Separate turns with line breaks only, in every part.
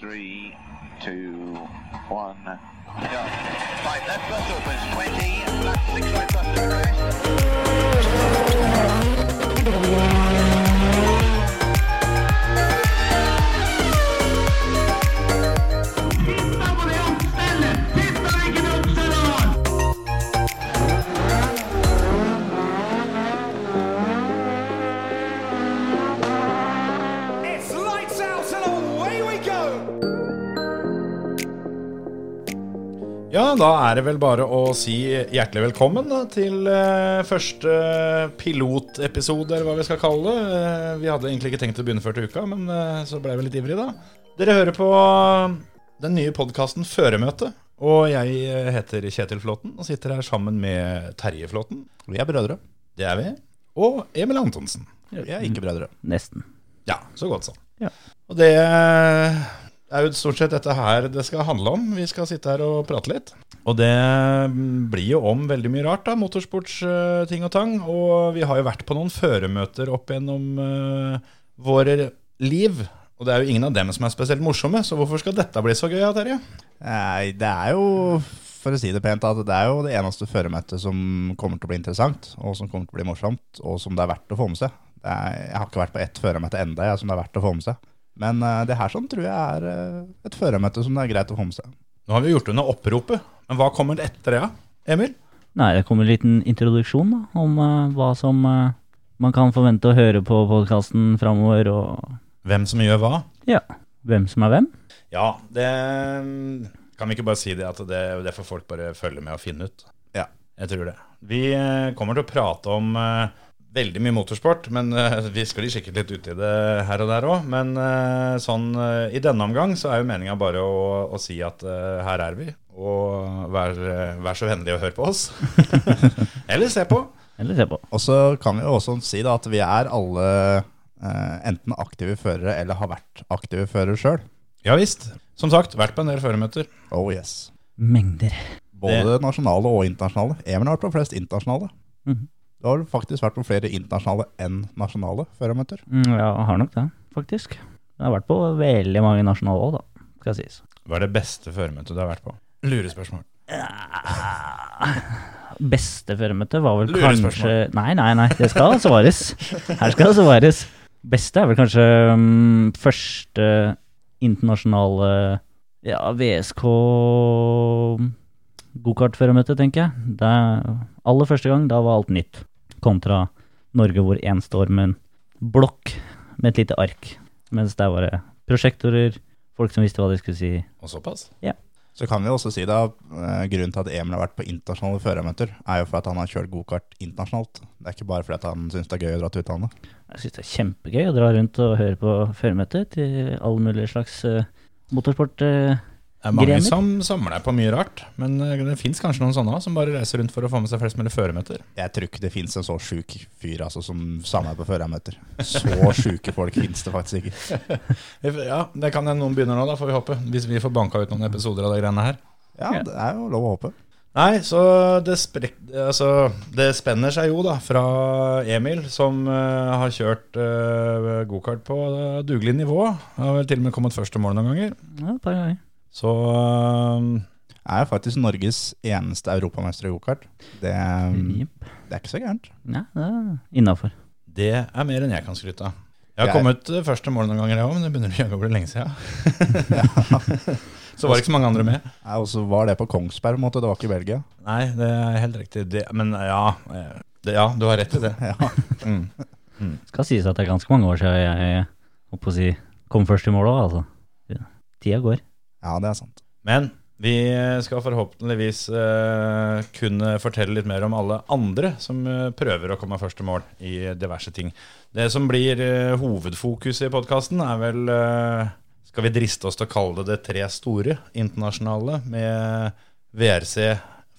three, two, one, go. Right, left bus opens 20, left six right bus to crest.
It's lights out and away we go!
Ja, da er det vel bare å si hjertelig velkommen da, til eh, første pilotepisode, eller hva vi skal kalle det. Eh, vi hadde egentlig ikke tenkt å begynne før til uka, men eh, så ble vi litt ivrige da. Dere hører på eh, den nye podkasten Føremøte, og jeg eh, heter Kjetil Flåten og sitter her sammen med Terje Flåten.
Vi er brødre.
Det er vi. Og Emil Antonsen.
Vi er ikke brødre.
Nesten.
Ja, så godt sånn.
Ja.
Og det er jo stort sett dette her det skal handle om. Vi skal sitte her og prate litt. Og det blir jo om veldig mye rart, da. Motorsportsting og tang. Og vi har jo vært på noen føremøter opp gjennom eh, våre liv. Og det er jo ingen av dem som er spesielt morsomme, så hvorfor skal dette bli så gøy, ja, Terje?
Nei, det er jo, for å si det pent, at det er jo det eneste føremøtet som kommer til å bli interessant, og som kommer til å bli morsomt, og som det er verdt å få med seg. Det er, jeg har ikke vært på ett føremøte enda, jeg, som det er verdt å få med seg. Men eh, det her sånn tror jeg er eh, et føremøte som det er greit å få med seg.
Nå har vi gjort unna oppropet, men hva kommer etter det, ja? Emil?
Nei, det kommer en liten introduksjon da, om eh, hva som eh, man kan forvente å høre på podkasten framover, og
Hvem som gjør hva?
ja, hvem som er hvem.
Ja, det Kan vi ikke bare si det at det, det får folk bare følge med og finne ut?
Ja.
Jeg tror det. Vi eh, kommer til å prate om eh, veldig mye motorsport, men eh, vi sklir sikkert litt ut i det her og der òg. Men eh, sånn eh, i denne omgang så er jo meninga bare å, å si at eh, her er vi, og vær, eh, vær så vennlig å høre på oss. Eller se på.
Eller se på.
Og så kan vi jo også si da at vi er alle eh, enten aktive førere eller har vært aktive førere sjøl.
Ja visst. Som sagt, vært på en del føremøter.
Oh yes.
Mengder.
Både nasjonale og internasjonale. Emil har vært på flest internasjonale.
Mhm.
Du har faktisk vært på flere internasjonale enn nasjonale førermøter.
Mm, ja, har nok det, faktisk. Jeg har vært på veldig mange nasjonale òg, da, skal sies.
Hva er det beste føremøtet du har vært på? Lurespørsmål.
Beste føremøte var vel
Lurespørsmål.
kanskje Nei, nei, nei, det skal svares. Her skal det svares. Beste er vel kanskje mm, første internasjonale ja, VSK gokartførermøte, mm, tenker jeg. Det er aller første gang, da var alt nytt. Kontra Norge hvor én står med en blokk med et lite ark. Mens der var det prosjektorer, folk som visste hva de skulle si.
Og såpass?
Så kan vi også si da, eh, grunnen til at Emil har vært på internasjonale førermøter, er jo for at han har kjørt gokart internasjonalt. Det er ikke bare fordi at han syns det er gøy å dra til utlandet.
Jeg syns det er kjempegøy å dra rundt og høre på føremøter til alle mulige slags eh, motorsport. eh.
Det er mange
Grener.
som samler deg på mye rart, men eh, det fins kanskje noen sånne også, som bare reiser rundt for å få med seg flest mulig føremøter.
Jeg tror ikke det fins en så sjuk fyr altså, som samler på førermøter. Så sjuke folk fins det faktisk ikke.
Ja, det kan hende noen begynner nå, da får vi håpe. Hvis vi får banka ut noen episoder av de greiene her.
Ja, det er jo lov å håpe.
Nei, så det, sprek, altså, det spenner seg jo da fra Emil, som eh, har kjørt eh, gokart på eh, dugelig nivå. Har vel til og med kommet først til mål noen ganger.
Ja, et par ganger.
Så eh,
Jeg er faktisk Norges eneste europamester i gokart. Det, um, det
Jepp.
er ikke så gærent.
Ja, det er innafor.
det er mer enn jeg kan skryte av. Jeg har
Jeg-
kommet eh, først til mål noen ganger, jeg òg, men det begynner jaggu å bli lenge siden. så var det ikke så mange andre med.
Nei, Og så var det på Kongsberg, på en måte. Det var ikke i Belgia.
Nei, det er helt riktig. Det, men ja, eh, det, ja, du har rett i det.
Ja.
Mm.
Skal sies at det er ganske mange år siden jeg, jeg holdt på å si, kom først i mål òg, altså. Ja. Tida går.
ja, det er sant.
Men vi skal forhåpentligvis eh, kunne fortelle litt mer om alle andre som eh, prøver å komme først til mål i diverse ting. Det som blir eh, hovedfokuset i podkasten, er vel eh, Skal vi driste oss til å kalle det det tre store internasjonale med VRC,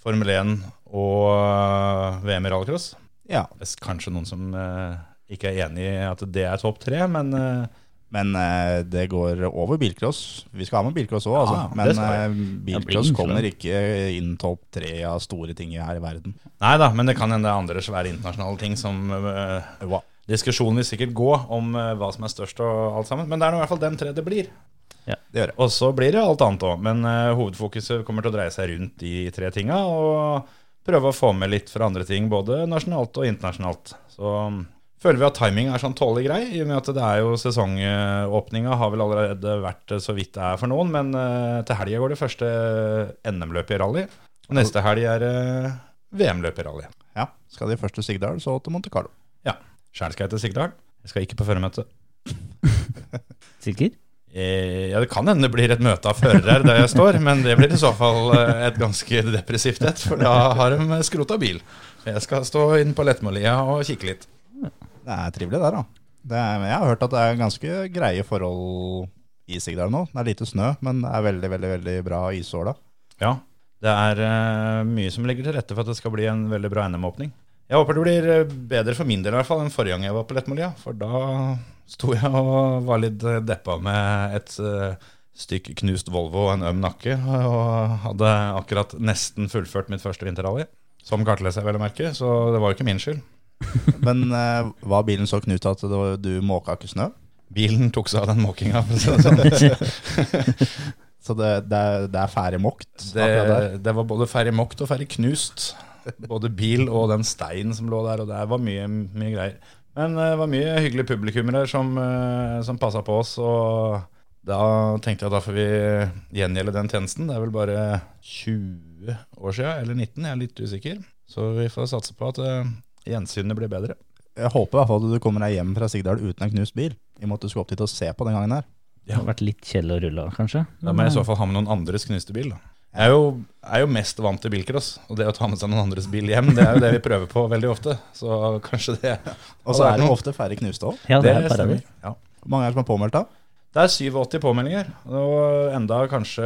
Formel 1 og eh, VM i rallycross?
Ja,
Det er kanskje noen som eh, ikke er enig i at det er topp tre, men eh,
Men eh, det går over bilcross. Vi skal ha med bilcross òg, altså.
ja, det
Men
skal vi.
eh,
blir
bilcross
innslag.
kommer ikke inn topp tre av store ting her i verden.
Nei da, men det kan hende det er andre svære internasjonale ting som eh,
Wow.
Diskusjonen vil sikkert gå om eh, hva som er størst og alt sammen, men det er nå i hvert fall dem tre det blir.
Det gjør jeg.
Og så blir det alt annet òg. Men eh, hovedfokuset kommer til å dreie seg rundt de tre tinga. Og prøve å få med litt fra andre ting, både nasjonalt og internasjonalt. Så mm, føler vi at timing er sånn tålelig grei, i og med at det er jo sesongåpninga har vel allerede vært eh, så vidt det er for noen. Men eh, til helga går det første NM-løpet i rally. Og neste helg er eh, det VM-løp i rally.
Ja, skal de først til Sigdal, så til Monte Carlo.
Ja. Sjæl skal jeg til Sigdal. Jeg skal ikke på førermøte.
Sikker?
Eh, Ja, Det kan hende det blir et møte av førere her der jeg står, men det blir i så fall eh, et ganske depressivt et, for da har de skrota bil. Jeg skal stå inne på Lettmålia og kikke litt.
Det er trivelig der, da. Det er, men jeg har hørt at det er ganske greie forhold i Sigdal nå. Det er lite snø, men det er veldig, veldig veldig bra isår da.
Ja, det er eh, mye som ligger til rette for at det skal bli en veldig bra NM-åpning. Jeg håper det blir eh, bedre for min del i hvert fall enn forrige gang jeg var på Lettmålia, for da sto jeg og var litt eh, deppa med et eh, stykk knust Volvo og en øm nakke, og hadde akkurat nesten fullført mitt første vinterrally. Som kartleser, vel å merke, så det var jo ikke min skyld.
Men eh, var bilen så knut at du, du måka ikke snø?
Bilen tok seg av den måkinga, for å si det sånn.
Så det, det, er- det er ferdig mokt? akkurat der.
Det, det var både ferdig mokt og ferdig knust. Både bil og den steinen som lå der, og det var mye, mye greier. Men eh, det var mye hyggelige publikummere som, eh, som passa på oss, og da tenkte jeg at da får vi gjengjelde den tjenesten. Det er vel bare 20 år sia, eller 19, jeg er litt usikker. Så vi får satse på at eh, gjensynet blir bedre.
Jeg håper i hvert fall at du kommer deg hjem fra Sigdal uten en knust bil. I og med at du skulle opp dit og se på den gangen her.
Det har vært litt kjedelig å rulle av, kanskje.
Da må jeg i så fall ha med noen andres knuste bil. Da. Jeg er jo, er jo mest vant til bilcross, og det å ta med seg noen andres bil hjem, det er jo det vi prøver på veldig ofte. Så kanskje det
Og så er det jo ofte færre knuste òg.
Ja, det, er
stemmer.
parader.
Ja.
Hvor mange er det som er påmeldt da?
Det er 87 påmeldinger, og enda kanskje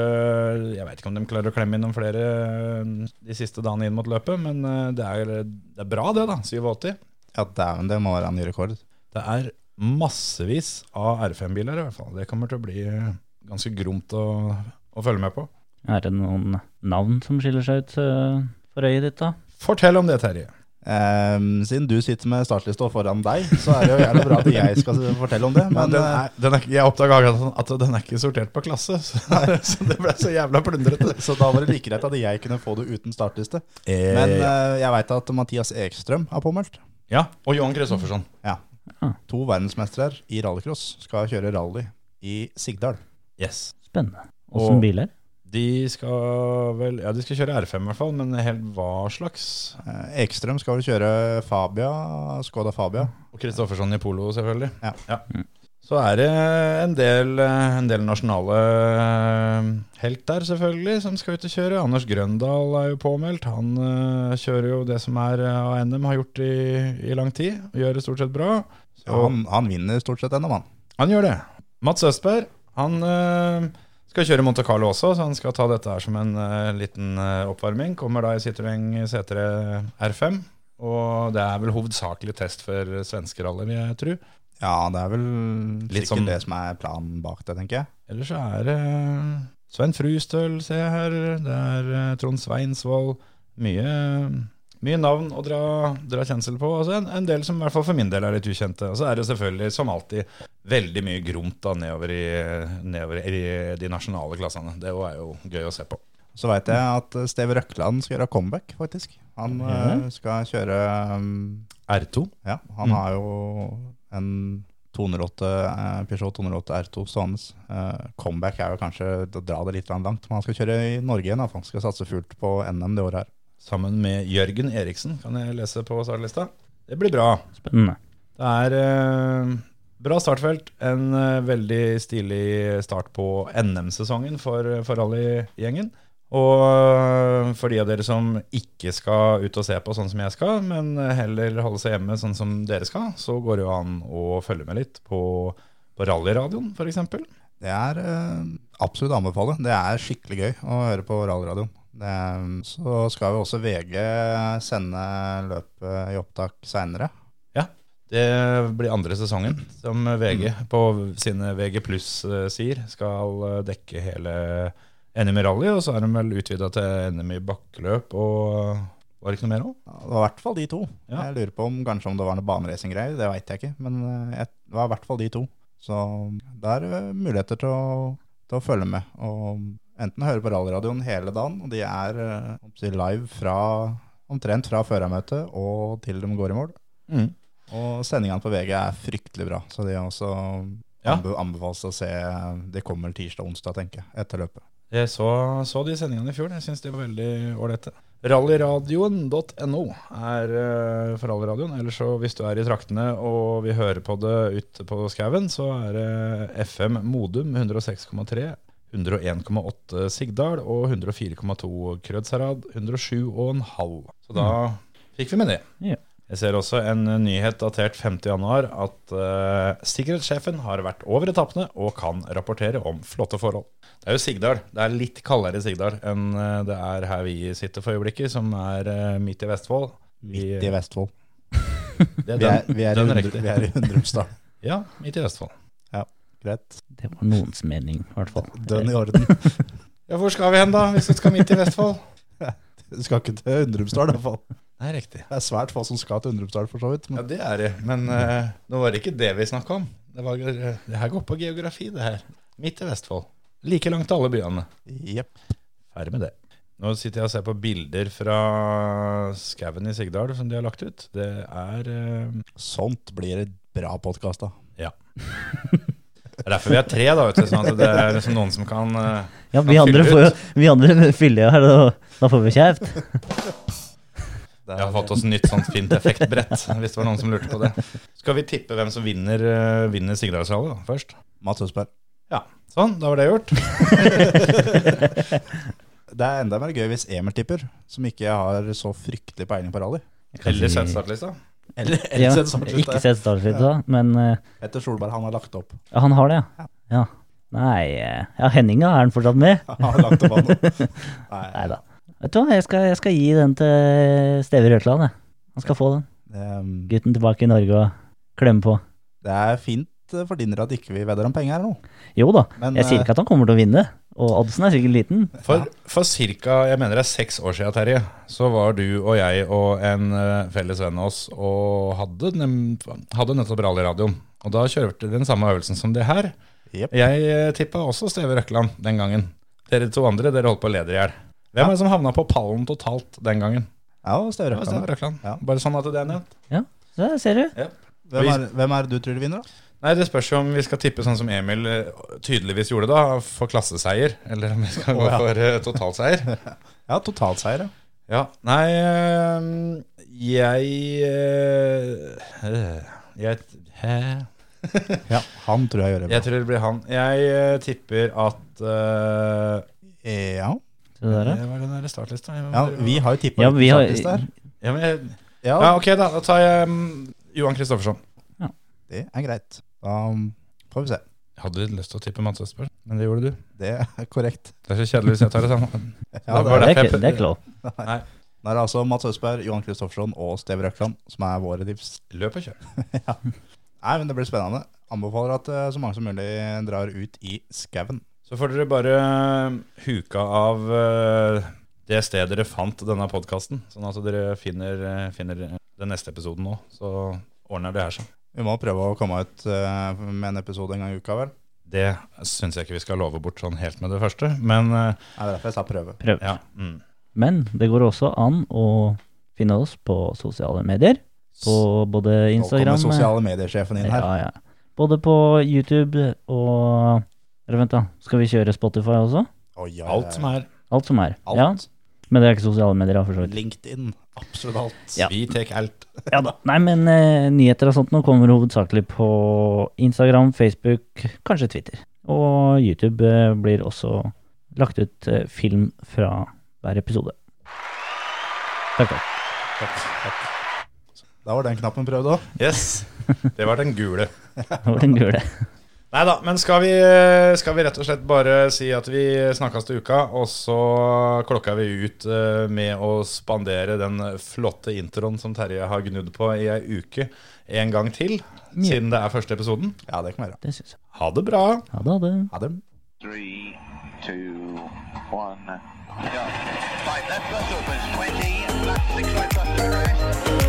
Jeg vet ikke om de klarer å klemme inn noen flere eh, de siste dagene inn mot løpet, men eh, det er, det er bra, det, da. 87.
Ja, dæven, det må være en ny rekord.
Det er massevis av R5-biler, i hvert fall. Det kommer til å bli eh, ganske gromt å, å følge med på.
eh, Er det noen navn som skiller seg ut eh, for øyet ditt, da?
Fortell om det, Terje.
Ehm, siden du sitter med startlista foran deg, så er det jo gjerne bra at jeg skal fortelle om det. Men
Men den
eh,
er, den er, ikke- jeg oppdaga at den er ikke sortert på klasse, så, så det ble så jævla plundrete.
Så da var det like greit at jeg kunne få det uten startliste. Men eh, jeg veit at Mathias Ekstrøm er påmeldt.
ja, og Johan Kristoffersson.
Ja.
Ah.
To verdensmestere i rallycross skal kjøre rally i Sigdal.
Yes.
Spennende.
Og-
Åssen biler?
De skal vel Ja, de skal kjøre R5 i hvert fall, men helt hva slags?
Eh, Ekstrøm skal vel kjøre Fabia, Skoda Fabia.
Og Kristoffersson i polo, selvfølgelig.
Ja.
Så er det en del, eh, en del nasjonale helt der, selvfølgelig, som skal ut og kjøre. Anders Grøndal er jo påmeldt. Han eh, kjører jo det som er eh, av NM, har gjort i, i lang tid. og Gjør det stort sett bra.
Så han, han vinner stort sett gjennom, han.
Han gjør det. Mats Østberg han eh, skal kjøre Monte Carlo også, så han skal ta dette her som en eh, liten eh, oppvarming. Kommer da i Citroën Setre R5. Og det er vel hovedsakelig test for svenske rally, vil jeg tro.
Ja, det er vel
Litt
sikkert
som-
det som er planen bak det, tenker jeg.
Ellers så er det Svein Frustøl, ser jeg her. Det er eh, Trond Sveinsvold. Mye, mye navn å dra, dra kjensel på. Altså en, en del som i hvert fall for min del er litt ukjente. Og så er det selvfølgelig, som alltid, veldig mye gromt da, nedover, i, nedover i de nasjonale klassene. Det er jo gøy å se på.
Så veit jeg at eh, Steve Røkland skal gjøre comeback, faktisk. Han eh, skal kjøre um,
R2.
Ja, han
Mm.
har jo en 208, eh, Peugeot 208 R2 stående. Eh, comeback er jo kanskje å dra det litt grann langt, men han skal kjøre i Norge igjen. da, for Han skal satse fullt på NM det året her.
Sammen med Jørgen Eriksen, kan jeg lese på startlista. Det blir bra.
Spennende.
Det er eh, bra startfelt. En eh, veldig stilig start på NM-sesongen for, for rallygjengen. Og eh, for de av dere som ikke skal ut og se på sånn som jeg skal, men heller holde seg hjemme sånn som dere skal, så går det jo an å følge med litt på, på rallyradioen f.eks.
Det er eh, absolutt å anbefale. Det er skikkelig gøy å høre på rallyradioen. Det er- Så skal jo også VG sende løpet i opptak seinere.
Ja, det blir andre sesongen som VG på sine VG pluss-sider skal eh, dekke hele NM i rally, og så er de vel utvida til NM i bakkeløp og var det ikke noe mer òg?
Det var i hvert fall de to.
Ja.
Jeg lurer på om kanskje om det var noe baneracing-greier, det veit jeg ikke. Men eh, jeg- det var i hvert fall de to. Så det er eh, muligheter til å,
til å følge med. Og enten høre på rallyradioen hele dagen, og de er eh, om å si, live fra, omtrent fra førermøtet og til de går i mål.
Mm.
Og sendingene på VG er fryktelig bra, så de er også
Ja.
anbe anbefales å se. De kommer vel tirsdag og onsdag, tenker jeg, etter løpet.
Jeg så, så de sendingene i fjor. Jeg syns de var veldig ålreite. Rallyradioen.no er eh, for rallyradioen. Eller så hvis du er i traktene og vil høre på det ute på skauen, så er det FM Modum 106,3, 101,8 Sigdal og 104,2 Krødsherad. 107,5. Så da fikk vi med det.
Ja.
Jeg ser også en eh, nyhet datert 5. januar at eh, sikkerhetssjefen har vært over etappene og kan rapportere om flotte forhold. Det er jo Sigdal. Det er litt kaldere i Sigdal enn eh, det er her vi sitter for øyeblikket, som er eh, midt i Vestfold. Vi-
Midt i Vestfold.
det er
Vi er,
den-
vi er, i
den
hundre-
riktig.
vi er i Undrumsdal.
Ja, midt i Vestfold.
Greit.
Det var noens mening, i hvert fall.
Dønn i orden.
Ja, hvor skal vi hen da, hvis vi skal midt i Vestfold?
Du skal ikke til Undrumsdal, i hvert fall.
Nei, riktig.
Det er svært få som skal til Undrumsdal, for så vidt.
Ja,
Men
det er det. Men eh, nå var det ikke det vi snakka om. Det, var, eh, det her går på geografi, det her. Midt i Vestfold. Like langt til alle byene.
jepp.
Ferdig med det. Nå sitter jeg og ser på bilder fra skauen i Sigdal som de har lagt ut. Det er eh,
Sånt blir et bra podkast, da.
det er derfor vi er tre, da, vet du. Sånn at det er liksom noen som kan eh,
Ja, vi
Han
andre,
fyller
får jo, vi andre fyller jo her, og da får vi kjeft.
Det
Vi har fått oss nytt sånt fint effektbrett, hvis det var noen som lurte på det. Skal vi tippe hvem som vinner, uh, vinner Sigdalsrallyet da, først?
Mats Høsberg.
Sånn, da var det gjort.
Det er enda mer gøy hvis Emil tipper, som ikke har så fryktelig peiling på rally.
Eller sett startlista.
Eller, eller
Ja,
sett samtidig.
ikke sett startskiltet, men eh,
Etter Solberg, han har lagt opp.
ja, han har det, ja. ja. Nei eh, Ja, Henninga, er han fortsatt med?
Han har lagt opp han. Nei,
Nei da. Vet du hva, jeg skal, jeg skal gi den til Steve Røtland, jeg. Han skal få den.
det,
Gutten tilbake i Norge og klemme på.
Ehm, det er fint eh, for din del at ikke vi vedder om penger her nå.
Jo da,
Men, eh,
jeg sier ikke at han kommer til å vinne, og oddsen er sikkert liten.
For, for ca. jeg mener det er seks år siden, Terje, så var du og jeg og en eh, felles venn av oss og hadde, nem- hadde nettopp rallyradioen. Og da kjørte vi den samme øvelsen som det her.
Jepp.
Jeg tippa også Steve Røkland den gangen. Dere to andre dere holdt på å lede i hjel. Hvem er det som havna på pallen totalt den gangen?
Ja, og Støre.
Det var Steve Røkland.
Ja.
Bare sånn at det er nevnt.
Så der ser du.
Hvem, er, hvem er det du tror du vinner, da?
Nei, Det spørs jo om vi skal tippe sånn som Emil eh, tydeligvis gjorde da, for klasseseier. Eller om vi skal gå
Å, ja.
for eh, totalseier.
Ja, totalseier, ja.
Ja, nei øhm, Jeg øh, øh, Jeg, hæ?
ja. Han tror jeg gjør det
jeg tror det blir han. Jeg øh, tipper at øh,
bra. Ja.
Se der, ja.
Det var den der startlista. Jeg må
ja,
bare-
vi har jo tippa
Ja, vi har-
der.
ja, men jeg,
Ja,
ja, ok, da. Da tar jeg øhm, Johan Kristoffersson.
det er greit. Da um, får vi se.
Jeg hadde lyst til å tippe Mats Østberg, men det gjorde du.
Det er korrekt.
Det er så kjedelig hvis jeg tar det samme. var
Ja, det er.
Det er,
derfor jeg
ikke- det er ikke lov.
Da er det altså Mats Høsberg, Johan Kristoffersson og Steve Røkland som er våre tips.
Løp og kjør.
Nei, men det blir spennende. Anbefaler at eh, så mange som mulig drar ut i skauen.
Så får dere bare øhm, huka av øh, det stedet dere fant denne podkasten, sånn at dere finner, øh, finner øh, den neste episoden nå. Så ordner det her seg.
Vi må prøve å komme ut eh, med en episode en gang i uka, vel?
Det syns jeg ikke vi skal love bort sånn helt med det første, men eh,
Nei, det er derfor jeg sa prøve.
Prøv.
ja. Mm.
Men det går også an å finne oss på sosiale medier. På både
Nå kommer
Instagram eh.
sosiale medier-sjefen inn her.
Ja, ja. Både på YouTube og Eller vent, da. Skal vi kjøre Spotify også?
Oi, oi, oi.
Alt som er.
Alt som er.
Alt.
Ja, men det er ikke sosiale medier, da, for så vidt.
LinkedIn. Absolutt alt.
Ja.
Vi tek alt.
Ja da. Nei, men eh, nyheter og sånt nå kommer hovedsakelig på Instagram, Facebook, kanskje Twitter. Og YouTube eh, blir også lagt ut eh, film fra hver episode. Takk, takk.
Takk, takk. Da var den knappen prøvd òg.
Yes. Det var den gule.
Det var den gule.
Nei da, men skal vi, eh, skal vi rett og slett bare si at vi snakkes til uka, og så klokka vi ut eh, med å spandere den flotte introen som Terje har gnudd på i ei uke, en gang til, siden det er første episoden.
Ja, det kan være.
Det syns jeg.
Ha det bra.
Ha det, ha det.
Ha det.
Three, two, one, go. Five left bus opens, 20, left six right bus to the rest.